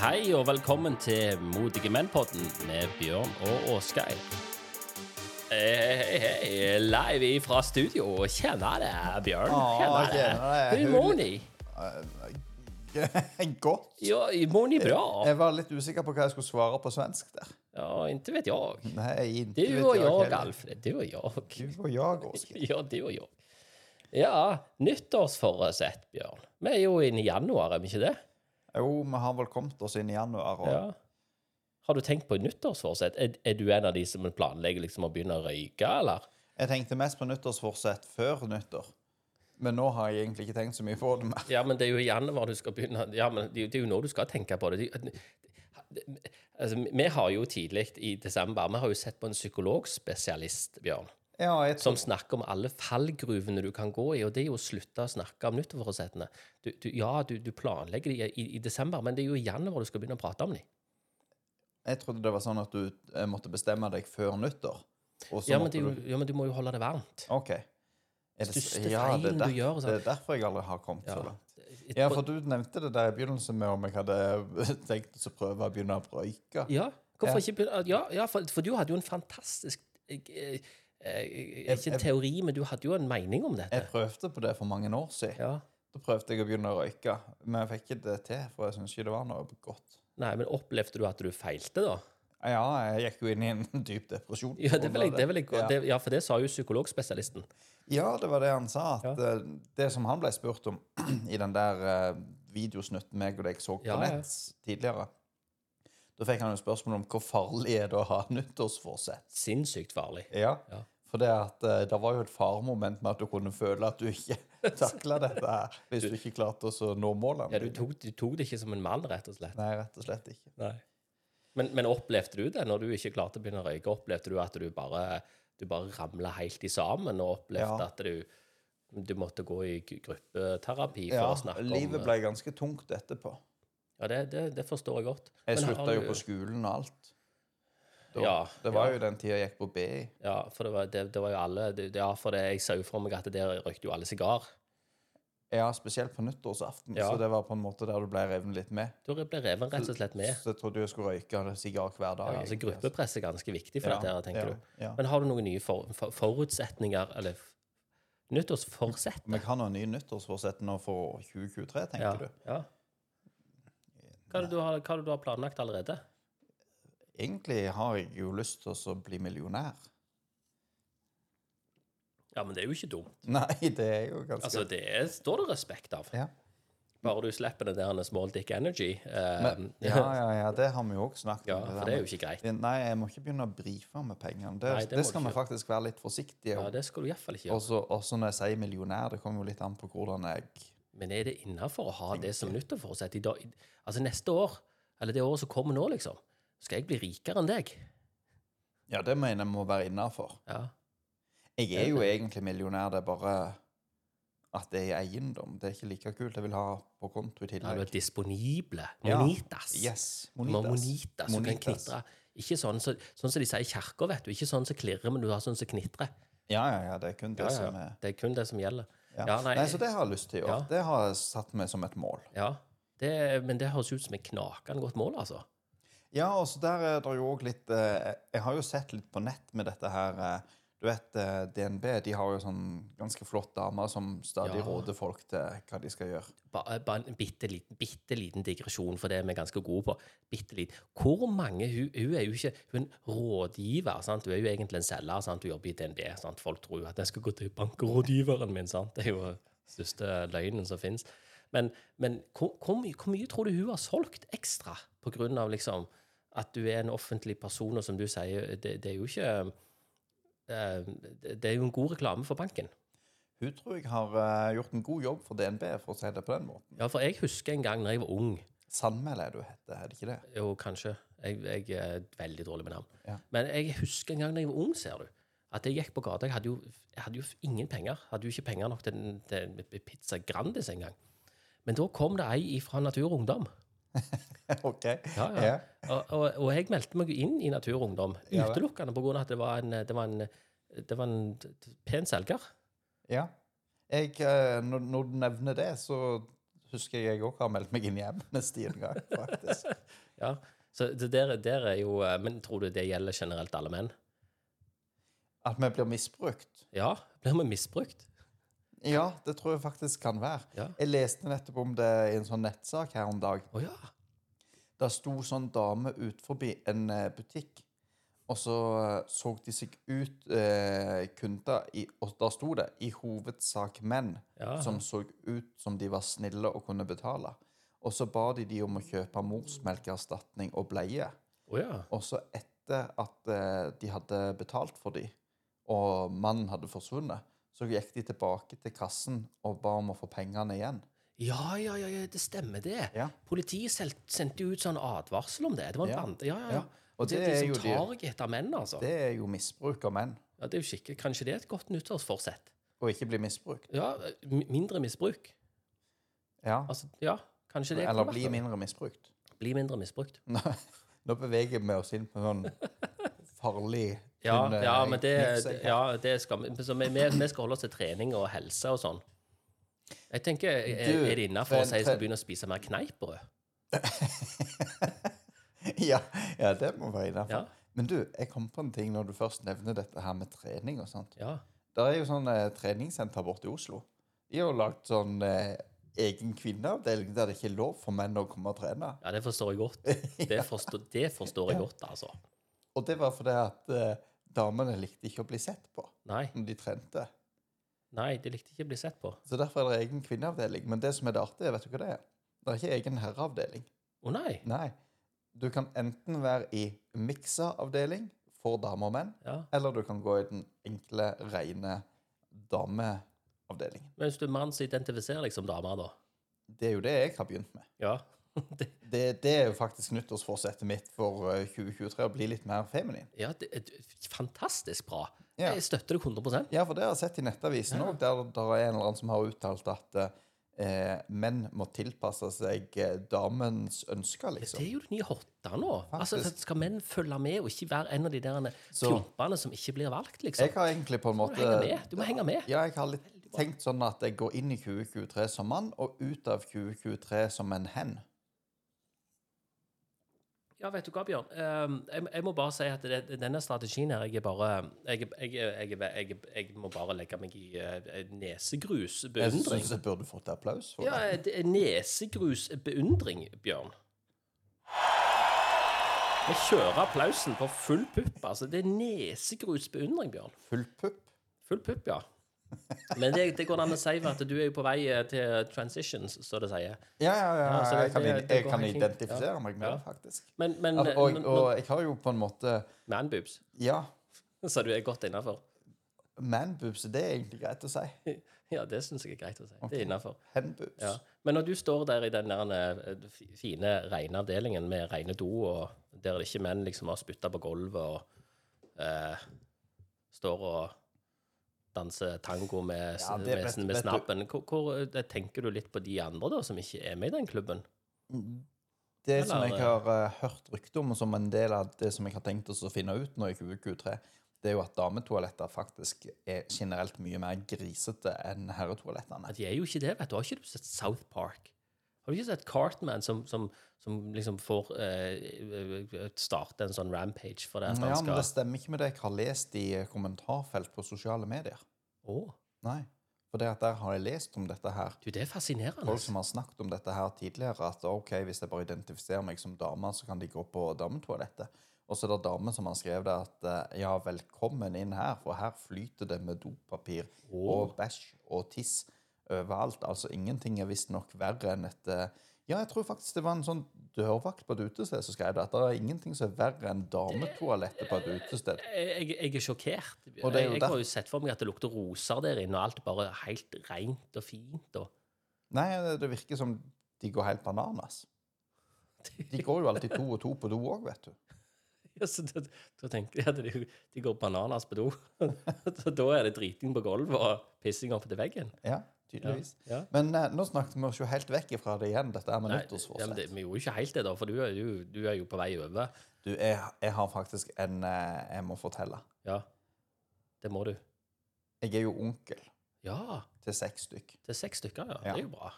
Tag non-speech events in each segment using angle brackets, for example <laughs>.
Hei og velkommen til Modige menn-podden med Bjørn og Åsgeir. Hei, hei, hei. Live ifra studio. Kjenner det, Bjørn. Ja, Kjenner det. kjenner det. Hur mår ni? <laughs> Godt. Ja, mår ni bra? Jeg var litt usikker på hva jeg skulle svare på svensk der. Ja, inte vet jag. Nei, eh. Mm. inte Du vet och jag, heller. Alfred. Du och jag. <laughs> Du og jeg, Åsgeir. Ja, du och jag. Ja, nyttårsforutsett, Bjørn. Vi er jo inne i januar, er vi ikke det? Jo, vi har vel kommet oss inn i januar, og Ja. Har du tenkt på nyttårsforutsett? Er, er du en av de som planlegger liksom å begynne å røyke, eller? jeg tenkte mest på nyttårsforsett før nyttår. Men nå har jeg egentlig ikke tenkt så mye på det mer. Ja, men det er jo i januar du skal begynne Ja, men det, er jo- det er jo nå du skal tenke på det. det. Altså, vi har jo tidlig i desember Vi har jo sett på en psykologspesialist, Bjørn, Ja, jeg tror, som snakker om alle fallgruvene du kan gå i, og det er jo å slutte å snakke om nyttårsforsettene. Du, du, ja, du, du planlegger de i, i, i desember, men det er jo i januar du skal begynne å prate om de. jeg trodde det var sånn at du eh, måtte bestemme deg før nyttår. Og så Ja, men, måtte det er jo, du ja, men du må jo holde det varmt. OK. Er det, Største ja, det, feilen er du der, gjør, så- det er derfor jeg aldri har kommet så Ja. langt. Ja, for du nevnte det der i begynnelsen med om jeg hadde <laughs> tenkt å prøve å begynne å røyke. Ja, hvorfor Ja. ikke begynne Ja, ja for, for du hadde jo en fantastisk eh, eh, eh, Ikke en teori, men du hadde jo en mening om dette. Jeg prøvde på det for mange år siden. Ja. Da prøvde jeg å begynne å røyke, men jeg fikk ikke det til, for jeg syntes ikke det var noe godt. Nei, men opplevde du at du feilte, da? Ja, jeg gikk jo inn i en <laughs> dyp depresjon. Ja, det vil jeg, det vil jeg, ja. det, ja for det sa jo psykologspesialisten. ja, det var det han sa. At eh, det som han ble spurt om <clears throat> i den der eh, videosnutten meg og deg så på Ja, ja. nett tidligere Da fikk han jo spørsmål om hvor farlig er det å ha <laughs> nyttårsforsett. Sinnssykt farlig. Ja. Ja. For det, at, eh, det var jo et faremoment med at du kunne føle at du ikke <laughs> takla dette her, hvis du ikke klarte å så nå målene. Ja, du tok, du tok det ikke som en mann, rett og slett. Nei, rett og slett ikke. Nei. Men, men opplevde du det når du ikke klarte å begynne å røyke? Opplevde du at du bare, du bare ramla helt i sammen, og opplevde Ja. at du, du måtte gå i gru- gruppeterapi for Ja, å snakke om eh, livet ble ganske tungt etterpå. Ja, det, det, det forstår jeg godt. Jeg Men har slutta jo du- på skolen og alt. Da, Ja, det var ja. jo den tida jeg gikk på BI. Ja, for det var, det, det var jo alle det, Ja, for det, jeg så jo for meg at der røykte jo alle sigar. Ja, spesielt på nyttårsaften, Ja. så det var på en måte der du ble revet litt med. Da ble reven rett og slett med. Så jeg trodde jeg skulle røyke en sigar hver dag. Ja, altså egentlig. Gruppepress er ganske viktig for Ja, dette, her, tenker ja, du. ja. Men har du noen nye for, for, forutsetninger, eller f- nyttårsforsett? Vi kan ha en ny nyttårsforsett nå for 2023, tenker Ja, du. ja. Hva er det du har, hva er det du har planlagt allerede? Egentlig har jeg jo lyst til å så bli millionær. <laughs> Ja, men det er jo ikke dumt. Nei, det er jo ganske Altså, Det er, står det respekt av. ja. Bare du slipper den der Small Dick Energy. eh, <laughs> ja, ja, ja, det har vi jo òg snakket ja, om. for der det er med- jo ikke greit. Nei, jeg må ikke begynne å brife med pengene. Det, Nei, det det, må du skal ikke vi faktisk være litt forsiktige Ja, om. Det skal du iallfall ikke gjøre. Og så- og så når jeg sier millionær, det kommer jo litt an på hvordan jeg Men er det innafor å ha det som nyttårsforsett i dag? i- Altså neste år, eller det året som kommer nå, liksom, skal jeg bli rikere enn deg? Ja, det mener jeg må være innafor. Ja. Jeg er jo egentlig millionær, det er bare at det er i eiendom. Det er ikke like kult. Jeg vil ha på konto i Da er tillegg. du disponible. Ja. Monitas. Yes. Du må ha Monitas. monitas. Du kan Monitas. knitre. Ikke sånn som sånn som de sier i kirka, vet du. Ikke sånn som klirrer, men du har sånn som knitrer. Ja, ja, ja. Det er kun det Ja, som ja. er Det er kun det som gjelder. ja. Ja, nei, nei, Så det har jeg lyst til i år. Ja. Det har jeg satt meg som et mål. Ja. Det, men det høres ut som et knakende godt mål, altså. Ja, og så der er det jo òg litt eh, Jeg har jo sett litt på nett med dette her eh, Du vet, eh, DNB de har jo sånn ganske flott dame som stadig Ja. råder folk til hva de skal gjøre. Bare, bare eh, en bitte liten, bitte liten digresjon, for det er vi ganske gode på. Bitte liten. Hvor mange Hun, hun er jo ikke hun er en rådgiver. sant? Hun er jo egentlig en selger. sant? Hun jobber i DNB. sant? Folk tror jo at jeg skal gå til bankrådgiveren min. sant? Det er jo den største løgnen som fins. Men, men hvor, hvor, mye, hvor mye tror du hun har solgt ekstra på grunn av liksom, at du er en offentlig person, og som du sier, det, det er jo ikke eh, Det det er jo en god reklame for banken. Hun tror jeg har eh, gjort en god jobb for DNB, for å si det på den måten. Ja, for jeg husker en gang da jeg var ung. Sandmæl er det hun heter, er det ikke det? Jo, kanskje. Jeg, jeg er veldig dårlig med navn. Ja. Men jeg husker en gang da jeg var ung, ser du, at jeg gikk på gata. Jeg hadde jo, jeg hadde jo ingen penger. Hadde jo ikke penger nok til, en- til en Pizza Grandis engang. Men da kom det ei fra Natur og Ungdom. <laughs> OK. Ja, ja. Og, og, og jeg meldte meg jo inn i Natur og Ungdom Ja vel. utelukkende på grunn av at det var en, det var en, det var en pen selger. ja. Jeg, eh, når, når du nevner det, så husker jeg òg har meldt meg inn i Amnesty en gang, faktisk. Ja. Så det der, der er jo eh, Men tror du det gjelder generelt alle menn? At vi blir misbrukt. Ja. Blir vi misbrukt? Ja, det tror jeg faktisk kan være. Ja. Jeg leste nettopp om det i en sånn nettsak her om dag. Å ja. Der sto sånn dame ut forbi en eh, butikk, og så eh, så de seg ut eh, kunder i Og der sto det 'i hovedsak menn' Ja. som så ut som de var snille og kunne betale. Og så ba de de om å kjøpe morsmelkerstatning og bleie. Å ja. Og så etter at eh, de hadde betalt for dem, og mannen hadde forsvunnet, så gikk de tilbake til kassen og ba om å få pengene igjen. Ja, ja, ja, ja, det stemmer det. Ja. Politiet selv sendte jo ut sånn advarsel om det. Det var en Ja. bande. Ja, ja, Ja. ja. Og det, det er er de jo som de- targeter menn, altså. Det er jo misbruk av menn, Ja, det er jo skikkelig. Kanskje det er et godt nyttårsforsett? og ikke bli misbrukt. Ja, mi- mindre misbruk. Ja. Altså, ja, kanskje det Eller kan bli være noe. mindre misbrukt. <laughs> bli mindre misbrukt. Nå nå beveger vi oss inn på sånn farlig Ja, tynn, eh, ja men det, knivsegg. ja, det skal vi så vi, vi vi skal holde oss til trening og helse og sånn. Jeg tenker, Er, Du, er det innafor å Sven, si jeg skal tre- begynne å spise mer kneippbrød? <laughs> ja, ja, det må være innafor. Ja. Men du, jeg kom på en ting når du først nevner dette her med trening og sånt. Ja. Det er jo sånn eh, treningssenter borte i Oslo. De har jo lagd sånn eh, egen kvinneavdeling der det ikke er lov for menn å komme og trene. ja, det forstår jeg godt. <laughs> Det forstår, det forstår jeg godt, altså. Og det var fordi at eh, damene likte ikke å bli sett på Nei, når de trente. nei, det likte ikke å bli sett på. Så derfor er det egen kvinneavdeling. Men det som er det artige, vet du hva det er? Det er ikke egen herreavdeling. Å nei. Nei. Du kan enten være i miksa-avdeling for damer og menn, Ja. eller du kan gå i den enkle, rene dameavdelingen. Men hvis du er mann, så identifiserer deg som dame, da. Det er jo det jeg har begynt med. Ja. <laughs> Det, Det, det er jo faktisk nyttårsforsettet mitt for eh, 2023, å bli litt mer feminin. ja, det er fantastisk bra. Ja. Jeg støtter deg 100 Ja, for det har jeg sett i Nettavisen òg, der det er en eller annen som har uttalt at eh, menn må tilpasse seg eh, damens ønsker, Det liksom. er jo det nye hotta nå. Altså, Faktisk. Skal menn følge med og ikke være en av de der Så- klumpene som ikke blir valgt, liksom? Jeg har egentlig på en Du må måte henge med. Du må henge med. Ja, jeg har litt tenkt sånn at jeg går inn i 2023 som mann, og ut av 2023 som en hen. Ja, vet du hva, Bjørn. Ehm, jeg, jeg må bare si at det, denne strategien her Jeg er bare Jeg, jeg, jeg, jeg, jeg må bare legge meg i eh, Jeg syns nesegrusbeundring. jeg burde fått applaus for Ja, det. det er nesegrusbeundring, Bjørn. Vi kjører applausen på full pupp. Altså, det er nesegrusbeundring, Bjørn. Full pupp. Full pupp, ja. Men det, det går an å si for at du er jo på vei eh, til transitions, så det sier. Ja, ja, ja. Ja, så det- Jeg kan, det- i- det jeg går kan helt fint. identifisere Ja. meg med Ja. det, faktisk. Men, men, eh, Al- Og, men- og jeg har jo på en måte men manboobs, Ja, så du er godt innafor. manboobs det er egentlig greit å si. Ja, det syns jeg er greit å si. Det er innafor. Henboobs. Ja. Men når du står der i den der eh, fi- fine, rene avdelingen med rene do, og der det ikke menn liksom har spytta på gulvet og eh, står og danser tango med, s- Ja, det med, vet- med vet du- snappen, hvor, hvor eh, tenker du litt på de andre da, som ikke er med i den klubben? Det som Eller- jeg har eh, hørt rykte om, og som en del av det som jeg har tenkt oss å finne ut nå i 2023, det er jo at dametoaletter faktisk er generelt mye mer grisete enn herretoalettene. Ja, de er jo ikke det, vet du. Har ikke du sett South Park? Har du ikke sett Cartman som, som, som liksom får eh, starte en sånn rampage for det? at han Ja, men skal... det stemmer ikke med det jeg har lest i kommentarfelt på sosiale medier. Å, Nei. For det at der har jeg lest om dette her. du, det er fascinerende. Folk som har snakket om dette her tidligere, at ok, hvis jeg bare identifiserer meg som dame, så kan de gå på dametoalettet. Og så er det damer som har skrevet det at eh, ja, velkommen inn her, for her flyter det med dopapir og bæsj og tiss overalt. Altså ingenting er visstnok verre enn et eh, Ja, jeg tror faktisk det var en sånn dørvakt på et utested som skrev det, at det er ingenting som er verre enn dametoalettet på et utested. Jeg, jeg- jeg er sjokkert. Og det er jeg, jo jeg har der- jo sett for meg at det lukter roser der inne, og alt bare er helt rent og fint. Og... <laughs> Nei, det virker som de går helt bananas. De går jo alltid to og to på do òg, vet du. Ja, så da, da tenker jeg at de, de går bananas på do. <laughs> så da er det driting på gulvet og pissing opp til veggen. Ja, tydeligvis. Ja. Men eh, nå snakket vi oss jo helt vekk ifra det igjen, dette her med Nei, ja, men nyttårsforsett. det, vi gjorde jo ikke helt det, da, for du er jo, du er jo på vei over. Du, jeg, jeg har faktisk en eh, jeg må fortelle. Ja, det må du. Jeg er jo onkel Ja, til seks stykk. til seks stykker, ja. Ja. Det er jo bra.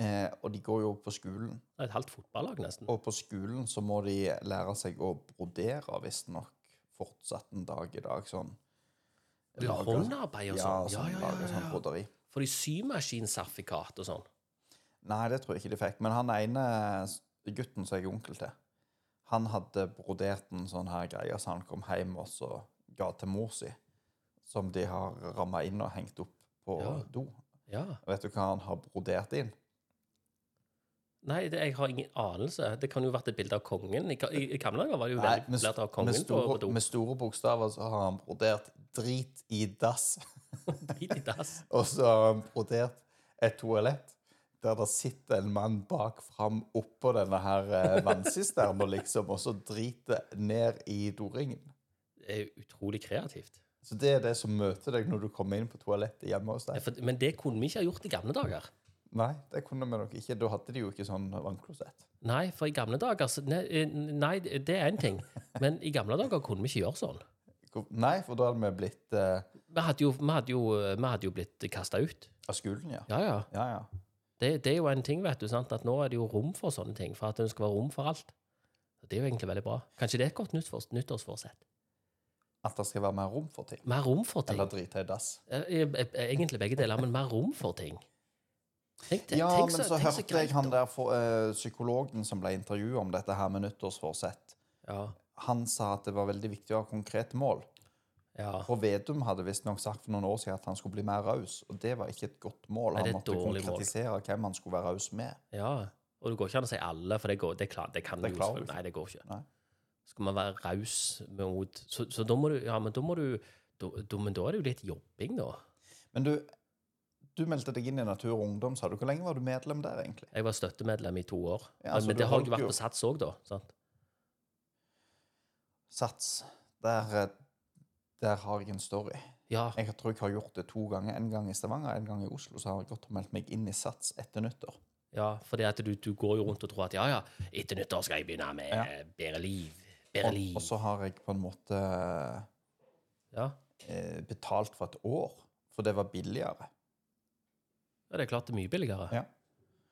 Eh, og de går jo på skolen. Det er et halvt fotballag, nesten. Og på skolen så må de lære seg å brodere, visstnok, fortsatt en dag i dag. Sånn. Det er Lager- Håndarbeid og Ja, sånn. Ja, sånn, ja, ja. lager sånn ja, ja. broderi. Får de symaskinsertifikat og sånn? Nei, det tror jeg ikke de fikk. Men han ene s- gutten som jeg er onkel til, han hadde brodert en sånn her greie, så han kom hjem og så ga til mor si, som de har ramma inn og hengt opp på Ja. do. Ja. Vet du hva han har brodert inn? Nei, det, jeg har ingen anelse. Det kan jo ha vært et bilde av kongen. I, ga- i, i gamle dager var det jo Nei, veldig med, s- populært å ha med, kongen på, store, på do. med store bokstaver så har han brodert 'drit i dass', <laughs> Drit i dass. og så har han brodert et toalett. Der det sitter en mann bak fram oppå denne her eh, vannsisterna, liksom, og så driter ned i doringen. Det er jo utrolig kreativt. Så det er det som møter deg når du kommer inn på toalettet hjemme hos Ja, deg. for, men det kunne vi ikke ha gjort i gamle dager. Nei, det kunne vi nok ikke. Da hadde de jo ikke sånn vannklosett. Nei, for i gamle dager så- Nei, eh, nei det er én ting. Men i gamle dager kunne vi ikke gjøre sånn. Hvor- Nei, for da hadde vi blitt eh, Vi hadde jo, vi hadde jo, eh, vi hadde jo blitt kasta ut. av skolen, ja. Ja, ja. Ja, ja. Det, det er jo en ting, vet du, sant? at nå er det jo rom for sånne ting. For at det skal være rom for alt. Det er jo egentlig veldig bra. Kanskje det er et godt nyttårs- nyttårsforsett? At det skal være mer rom for ting. Mer rom for ting. Eller drite i dass. Eh, eh, eh, Egentlig begge deler, men mer rom for ting. Tenk, tenk, Ja, tenk men så hørte greit jeg han da. der for, eh, psykologen som ble intervjuet om dette her med nyttårsforsett. Ja, Han sa at det var veldig viktig å ha konkrete mål. ja. For Vedum hadde visstnok sagt for noen år siden at han skulle bli mer raus, og det var ikke et godt mål. Nei, det Han er et måtte dårlig mål. konkretisere hvem han skulle være raus med. ja. Og det går ikke an å si alle, for det, går, det, klar, det kan Det du jo klarer du selvfølgelig- ikke. Nei, det går ikke. Nei. Skal man være raus mot så, så da må du Ja, men da må du da, da, Men da er det jo litt jobbing, da. Men du, du meldte deg inn i Natur og Ungdom, sa du. Hvor lenge var du medlem der, egentlig? Jeg var støttemedlem i to år. Ja, altså, men du det har jeg holdt jo vært jo- på Sats òg, da. Sant? Sats. Der, eh, der har jeg en story. Ja. Jeg tror jeg har gjort det to ganger. En gang i Stavanger, en gang i Oslo. Så har jeg gått og meldt meg inn i Sats etter nyttår. ja fordi at du, du går jo rundt og tror at ja, ja, etter nyttår skal jeg begynne med Ja. eh, bedre liv. Bedre Og, liv. og så har jeg på en måte Ja. eh, betalt for et år, for det var billigere. ja, det er klart det er mye billigere. Ja.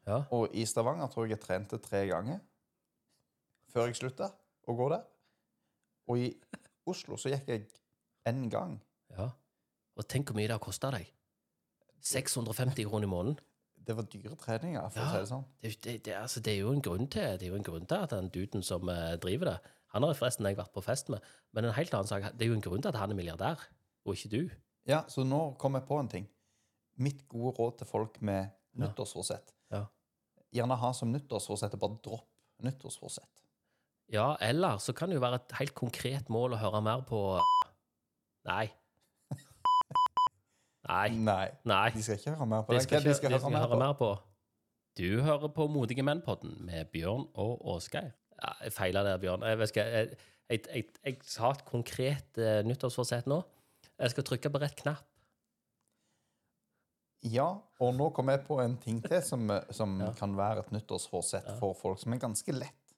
Ja. Og i Stavanger tror jeg jeg trente tre ganger før jeg slutta å gå der. Og i Oslo så gikk jeg én gang. Ja. Og tenk hvor mye det har kosta deg. 650 kroner i måneden. Det var dyre treninger, for Ja. å si det sånn. Det, er jo- det, det, altså, det er jo en grunn til Det er jo en grunn til at den duden som eh, driver det Han har forresten jeg vært på fest med, men en helt annen sak. Det er jo en grunn til at han er milliardær, og ikke du. Ja, så nå kom jeg på en ting. Mitt gode råd til folk med Ja. nyttårsforsett Ja. Gjerne ha som nyttårsforsett og bare dropp nyttårsforsett. Ja, eller så kan det jo være et helt konkret mål å høre mer på Nei. Nei. Nei, Nei. de skal ikke høre mer på Det det. skal Hva de ikke skal det skal høre mer på? mer på. Du hører på Modige menn-podden med Bjørn og Åsgeir. Ja, jeg feila der, Bjørn. Jeg, vet ikke, jeg, jeg, jeg, jeg sa et konkret eh, nyttårsforsett nå. Jeg skal trykke på rett knapp. Ja, og nå kom jeg på en ting til som, som Ja. kan være et nyttårsforsett Ja. for folk, som er ganske lett.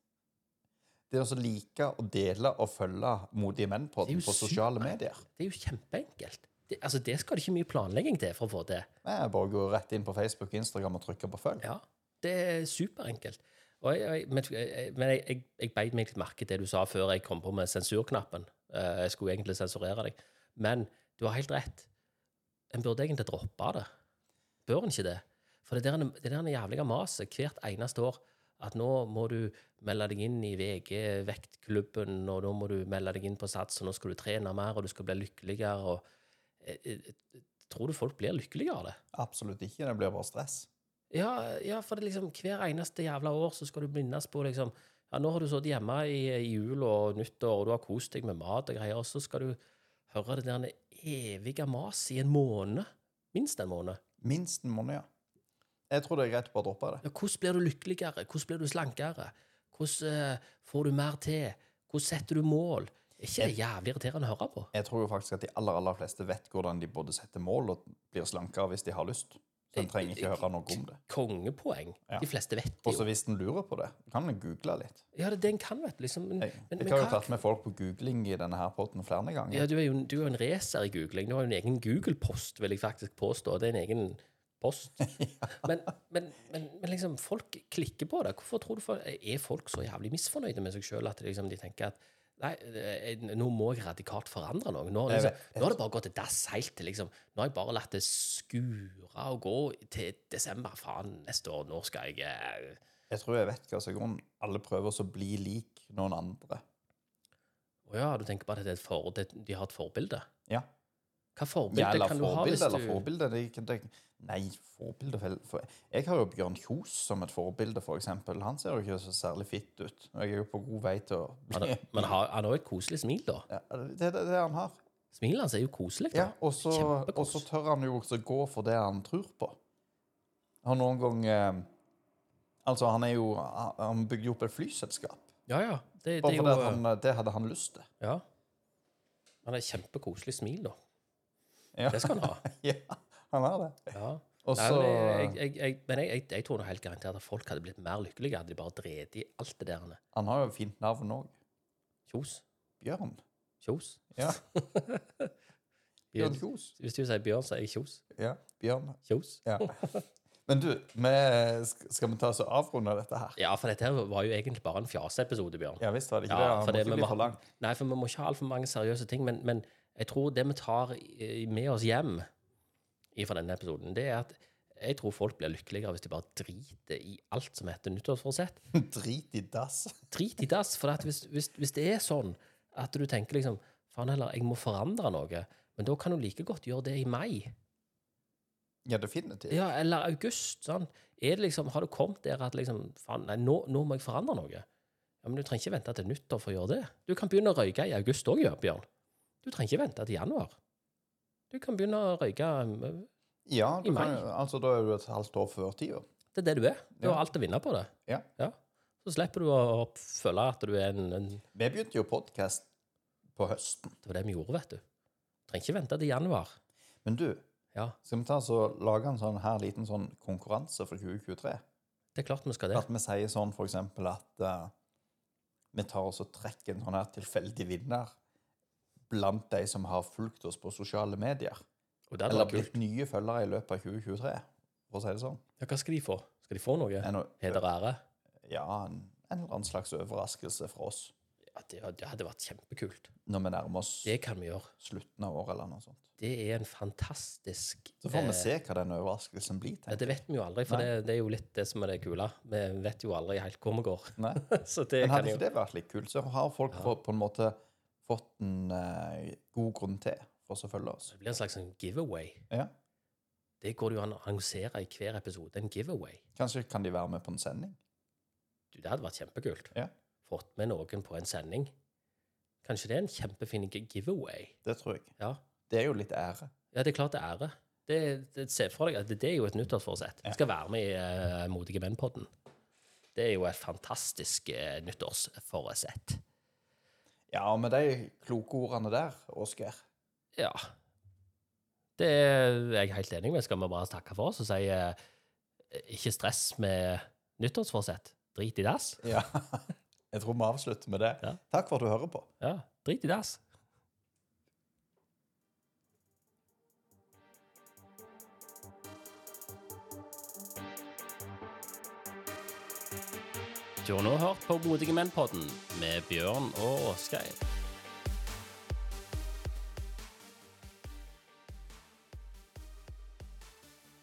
Det er å så like å dele og følge modige menn på, Det er jo på sosiale superenkelt. medier. Det er jo kjempeenkelt. Det, altså, det skal det ikke mye planlegging til for å få til. Nei, Jeg bare går rett inn på Facebook og Instagram og trykker på følg. Ja, det er superenkelt. Og jeg, jeg, men jeg, men jeg, jeg, jeg beit meg litt merke i det du sa før jeg kom på med sensurknappen. Eh, Jeg skulle egentlig sensurere deg. Men du har helt rett. En burde egentlig droppe det. Bør en ikke det? For det der, det der jævlige maset hvert eneste år at nå må du melde deg inn i VG, vektklubben, og nå må du melde deg inn på Sats, og nå skal du trene mer, og du skal bli lykkeligere, og Eh, eh, Tror du folk blir lykkeligere av det? Absolutt ikke, det blir bare stress. Ja, ja, for det er liksom, hver eneste jævla år så skal du minnes på liksom, ja, nå har du sittet hjemme i, i jul og nyttår, og du har kost deg med mat og greier, og så skal du høre det der evige maset i en måned. Minst en måned. Minst en måned, ja. Jeg tror det er greit å bare droppe det. Ja, hvordan blir du lykkeligere? Hvordan blir du slankere? Hvordan eh, får du mer til? Hvordan setter du mål? Er ikke det jævlig irriterende å høre på? Jeg tror jo faktisk at de aller, aller fleste vet hvordan de både setter mål og blir slankere hvis de har lyst. Så en trenger ikke høre noe om det. Kongepoeng. Ja. De fleste vet det Og jo. så hvis en lurer på det, kan en google litt. Ja, det er det en kan, vet du. Liksom. Men, Jeg, men- jeg men har jo hva- tatt med folk på googling i denne her podden flere ganger. Ja, du er jo, du er jo en racer i googling. Du har jo en <laughs> egen Google-post, vil jeg faktisk påstå. Det er en egen post. Men, men, men, men men liksom, folk klikker på det. Hvorfor tror du for, Er folk så jævlig misfornøyde med seg sjøl at de liksom, de tenker at Nei, eh, nå må jeg radikalt forandre noe. Nå, Jeg liksom, vet- nå har det bare gått til dass helt til liksom. Nå har jeg bare latt det skure og gå til desember. Faen, neste år, nå skal jeg eh, Jeg tror jeg vet hva som er grunnen. Alle prøver å bli lik noen andre. Å ja, du tenker bare at det er et for, det, de har et forbilde? Ja. Hva forbilde Ja, eller kan du ha hvis forbilde, du eller forbilde. Det kan tenke, nei, forbilde vel for, Jeg har jo Bjørn Kjos som et forbilde, for eksempel. Han ser jo ikke så særlig fitt ut. Og jeg er jo på god vei til å Han, bli men har, han har jo et koselig smil, da. ja, Det er det, det han har. Smilet hans er jo koselig. Ja, da. og så Kjempekos. og så tør han jo også gå for det han tror på. Han noen gang eh, Altså, han er jo Han han bygde jo opp et flyselskap. Ja, ja. Det, det Bare er jo fordi at han, det hadde han lyst til. <laughs> Ja. Han har et kjempekoselig smil, da. Ja. Det skal <laughs> han ha. Ja, han har det. Ja. Og Nei, så men jeg, jeg, jeg, men jeg, jeg, jeg tror nå helt garantert at folk hadde blitt mer lykkelige hadde de bare drevet i alt det der. Han har jo fint navn òg. Kjos. Bjørn. Kjos. Ja. Bjørn Bjørn. Kjos. Hvis du sier Bjørn, så er jeg Kjos. Ja, Bjørn. Kjos. <laughs> Ja. Men du, vi, sk- skal vi ta oss og avrunde dette her? Ja, for dette her var jo egentlig bare en fjaseepisode, Bjørn. Ja visst var det ikke Ja, det. for Han det måtte vi bli må- for lang. Nei, for vi må ikke ha altfor mange seriøse ting, men, men jeg tror det vi tar i- med oss hjem fra denne episoden, det er at jeg tror folk blir lykkeligere hvis de bare driter i alt som heter nyttårsforsett. <laughs> Drit i dass. Drit i dass, for at hvis, hvis, hvis det er sånn at du tenker liksom Faen heller, jeg må forandre noe. Men da kan du like godt gjøre det i mai. Ja, definitivt. Ja, eller august. Sånn. Er det liksom, har du kommet der at liksom, faen, nei, nå, nå må jeg forandre noe? Ja, Men du trenger ikke vente til nyttår for å gjøre det. Du kan begynne å røyke i august òg, Bjørn. Du trenger ikke vente til januar. Du kan begynne å røyke mm, Ja, I du kan, mai. jo- altså da er du et halvt år før tida. Det er det du er. Du Ja. har alt å vinne på det. Ja. Så slipper du å å føle at du er en, en Det Vi begynte jo podkast på høsten. var det vi gjorde, vet du. Du trenger ikke vente til januar. Men du, Ja, skal vi ta oss og lage en sånn her liten sånn konkurranse for 2023? det er klart vi skal det. At vi sier sånn for eksempel at eh, vi tar oss og trekker en sånn her tilfeldig vinner blant de som har fulgt oss på sosiale medier. Og det hadde Eller vært kult. blitt nye følgere i løpet av 2023, for å si det sånn. Ja, hva skal de få? Skal de få noe? En, Heder og ære? ja, en, en eller annen slags overraskelse fra oss Ja, det, det hadde vært kjempekult. når vi nærmer oss Det kan vi gjøre. slutten av året eller noe sånt. det er en fantastisk Så får vi eh, se hva den overraskelsen blir. ja, tenker Det vet vi jo aldri, for Nei. det, det er jo litt det som er det kule. Vi vet jo aldri helt hvor vi går. <laughs> jeg. Nei. Så det Men kan hadde jo ikke det vært litt kult, så har folk Ja. få- på en måte fått en eh, god grunn til for oss å følge oss. Det blir en slags sånn giveaway. Ja. Det går det jo an å annonsere i hver episode. En giveaway. Kanskje kan de være med på en sending? Du, det hadde vært kjempekult. Ja. Fått med noen på en sending. Kanskje det er en kjempefin gi- giveaway. Det tror jeg. Ja, Det er jo litt ære. ja det er klart det er ære. Det, det, se for deg at det, det er jo et nyttårsforsett. Du skal være med i eh, Modige menn-podden. Det er jo et fantastisk eh, nyttårsforsett. Ja, og med de kloke ordene der, Åsgeir Ja. Det er jeg helt enig med. Skal vi bare takke for oss og si eh, ikke stress med nyttårsforsett. Drit i dass. ja. <laughs> Jeg tror vi avslutter med det. Ja. Takk for at du hører på. Ja, drit i dass. Du har nå hørt på Modige menn-podden med Bjørn og Åsgeir.